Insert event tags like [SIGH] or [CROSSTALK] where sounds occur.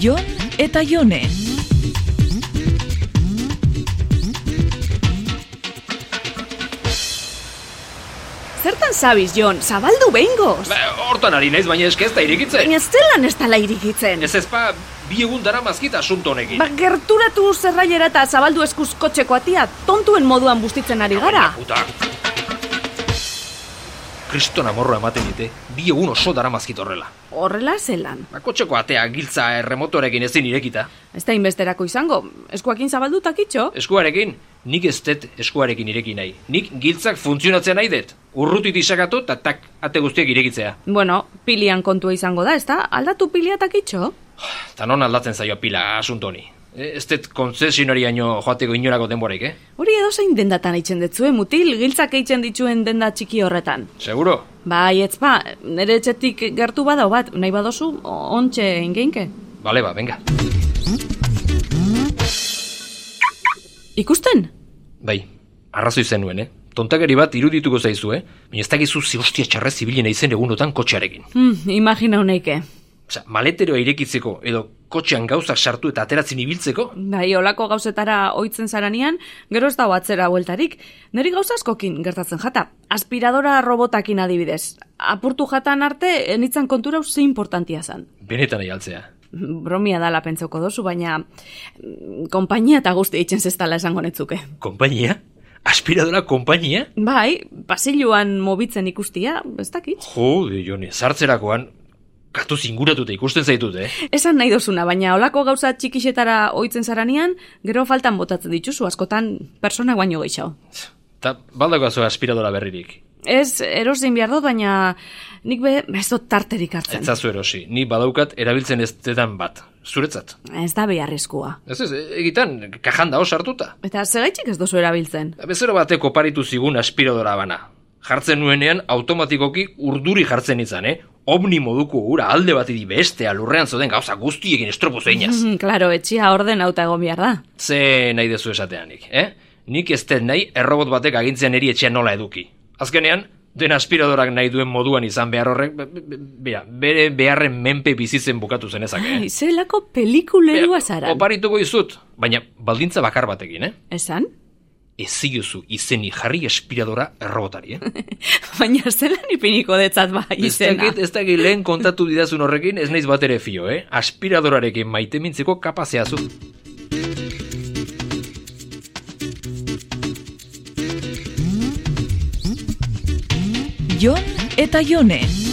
Jon eta Jone. Zertan zabiz, Jon, zabaldu behingoz. Ba, hortan ari naiz, baina eske ez da irikitzen. Baina ez zelan ez tala irikitzen. Ez ez pa, bi egun dara mazkit asunto honekin. Ba, gerturatu zerraiera eta zabaldu eskuz kotxeko atia, tontuen moduan bustitzen ari gara. Baina, puta. Kriston amorro ematen dite, bi egun oso dara mazkit horrela. Horrela zelan. Ba, kotxeko atea giltza erremotorekin ezin irekita. Ez da inbesterako izango, eskuakin zabaldu takitxo. Eskuarekin, nik ez dut eskuarekin ireki nahi. Nik giltzak funtzionatzen nahi dut. Urrutit isakatu eta tak, ate guztiak irekitzea. Bueno, pilian kontua izango da, ez da? Aldatu pilia takitxo. Ta non aldatzen zaio pila asunto honi. E, Ez dut kontzesionariaino joateko inorako denborek, eh? Hori edozein dendatan eitzen detzue, mutil, giltzak eitzen dituen denda txiki horretan. Seguro? Bai, ez ba, nire etxetik gertu badau bat, nahi badozu, o- ontxe ingeinke. Bale ba, venga. Ikusten? Bai, arrazoi zenuen, eh? Tontakeri bat irudituko zaizu, eh? Baina ez dakizu ze hostia txarra zibilen aizen egunotan kotxearekin. Hmm, imagina honeike. Osea, maleteroa irekitzeko edo kotxean gauzak sartu eta ateratzen ibiltzeko? Bai, olako gauzetara ohitzen zaranean, gero ez dago atzera bueltarik. Neri gauza askokin gertatzen jata. Aspiradora robotakin adibidez. Apurtu jatan arte, enitzan kontura hau ze importantia zan. Benetan nahi altzea. Bromia dala pentsoko dozu, baina mm, konpainia eta guzti eitzen zestala esango netzuke. Kompainia? Aspiradora kompainia? Bai, pasiluan mobitzen ikustia, ez dakit. Jo, de jone, sartzerakoan, katu zinguratuta ikusten zaitut, eh? Esan nahi dozuna, baina olako gauza txikixetara ohitzen zaranean, gero faltan botatzen dituzu, askotan persona baino gehiago. Ta baldako azo aspiradora berririk. Ez, erosin behar dut, baina nik be, ez dut tarterik Ez hartzen. zazu erosi, ni badaukat erabiltzen ez dedan bat. Zuretzat. Ez da beharrezkoa. Ez ez, egitan, kajanda hor sartuta. Eta zegaitik ez duzu erabiltzen. Bezero batek oparitu zigun aspiradora bana. Jartzen nuenean automatikoki urduri jartzen izan, eh? Omni moduko ura alde batidi bestea lurrean zoden gauza guztiekin estropo [LAUGHS] zeinaz. Hmm, Claro, etxia orden auta egon behar da. Ze nahi dezu esateanik, eh? Nik ez dut nahi errobot batek agintzen niri etxean nola eduki. Azkenean, den aspiradorak nahi duen moduan izan behar horrek, be- be- bera, bere beharren menpe bizitzen bukatu zenezake, eh? Ai, zelako pelikulerua zara. Oparituko izut, baina baldintza bakar batekin, eh? Esan? [LAUGHS] Ez ziozu izeni jarri aspiradora errobotari, eh? Baina zelan ipiniko detzat ba, Ez izena. dakit, ez dakit lehen kontatu didazun horrekin, ez naiz bat ere fio, eh? Aspiradorarekin maitemintzeko kapazea zu. Jon eta Jone.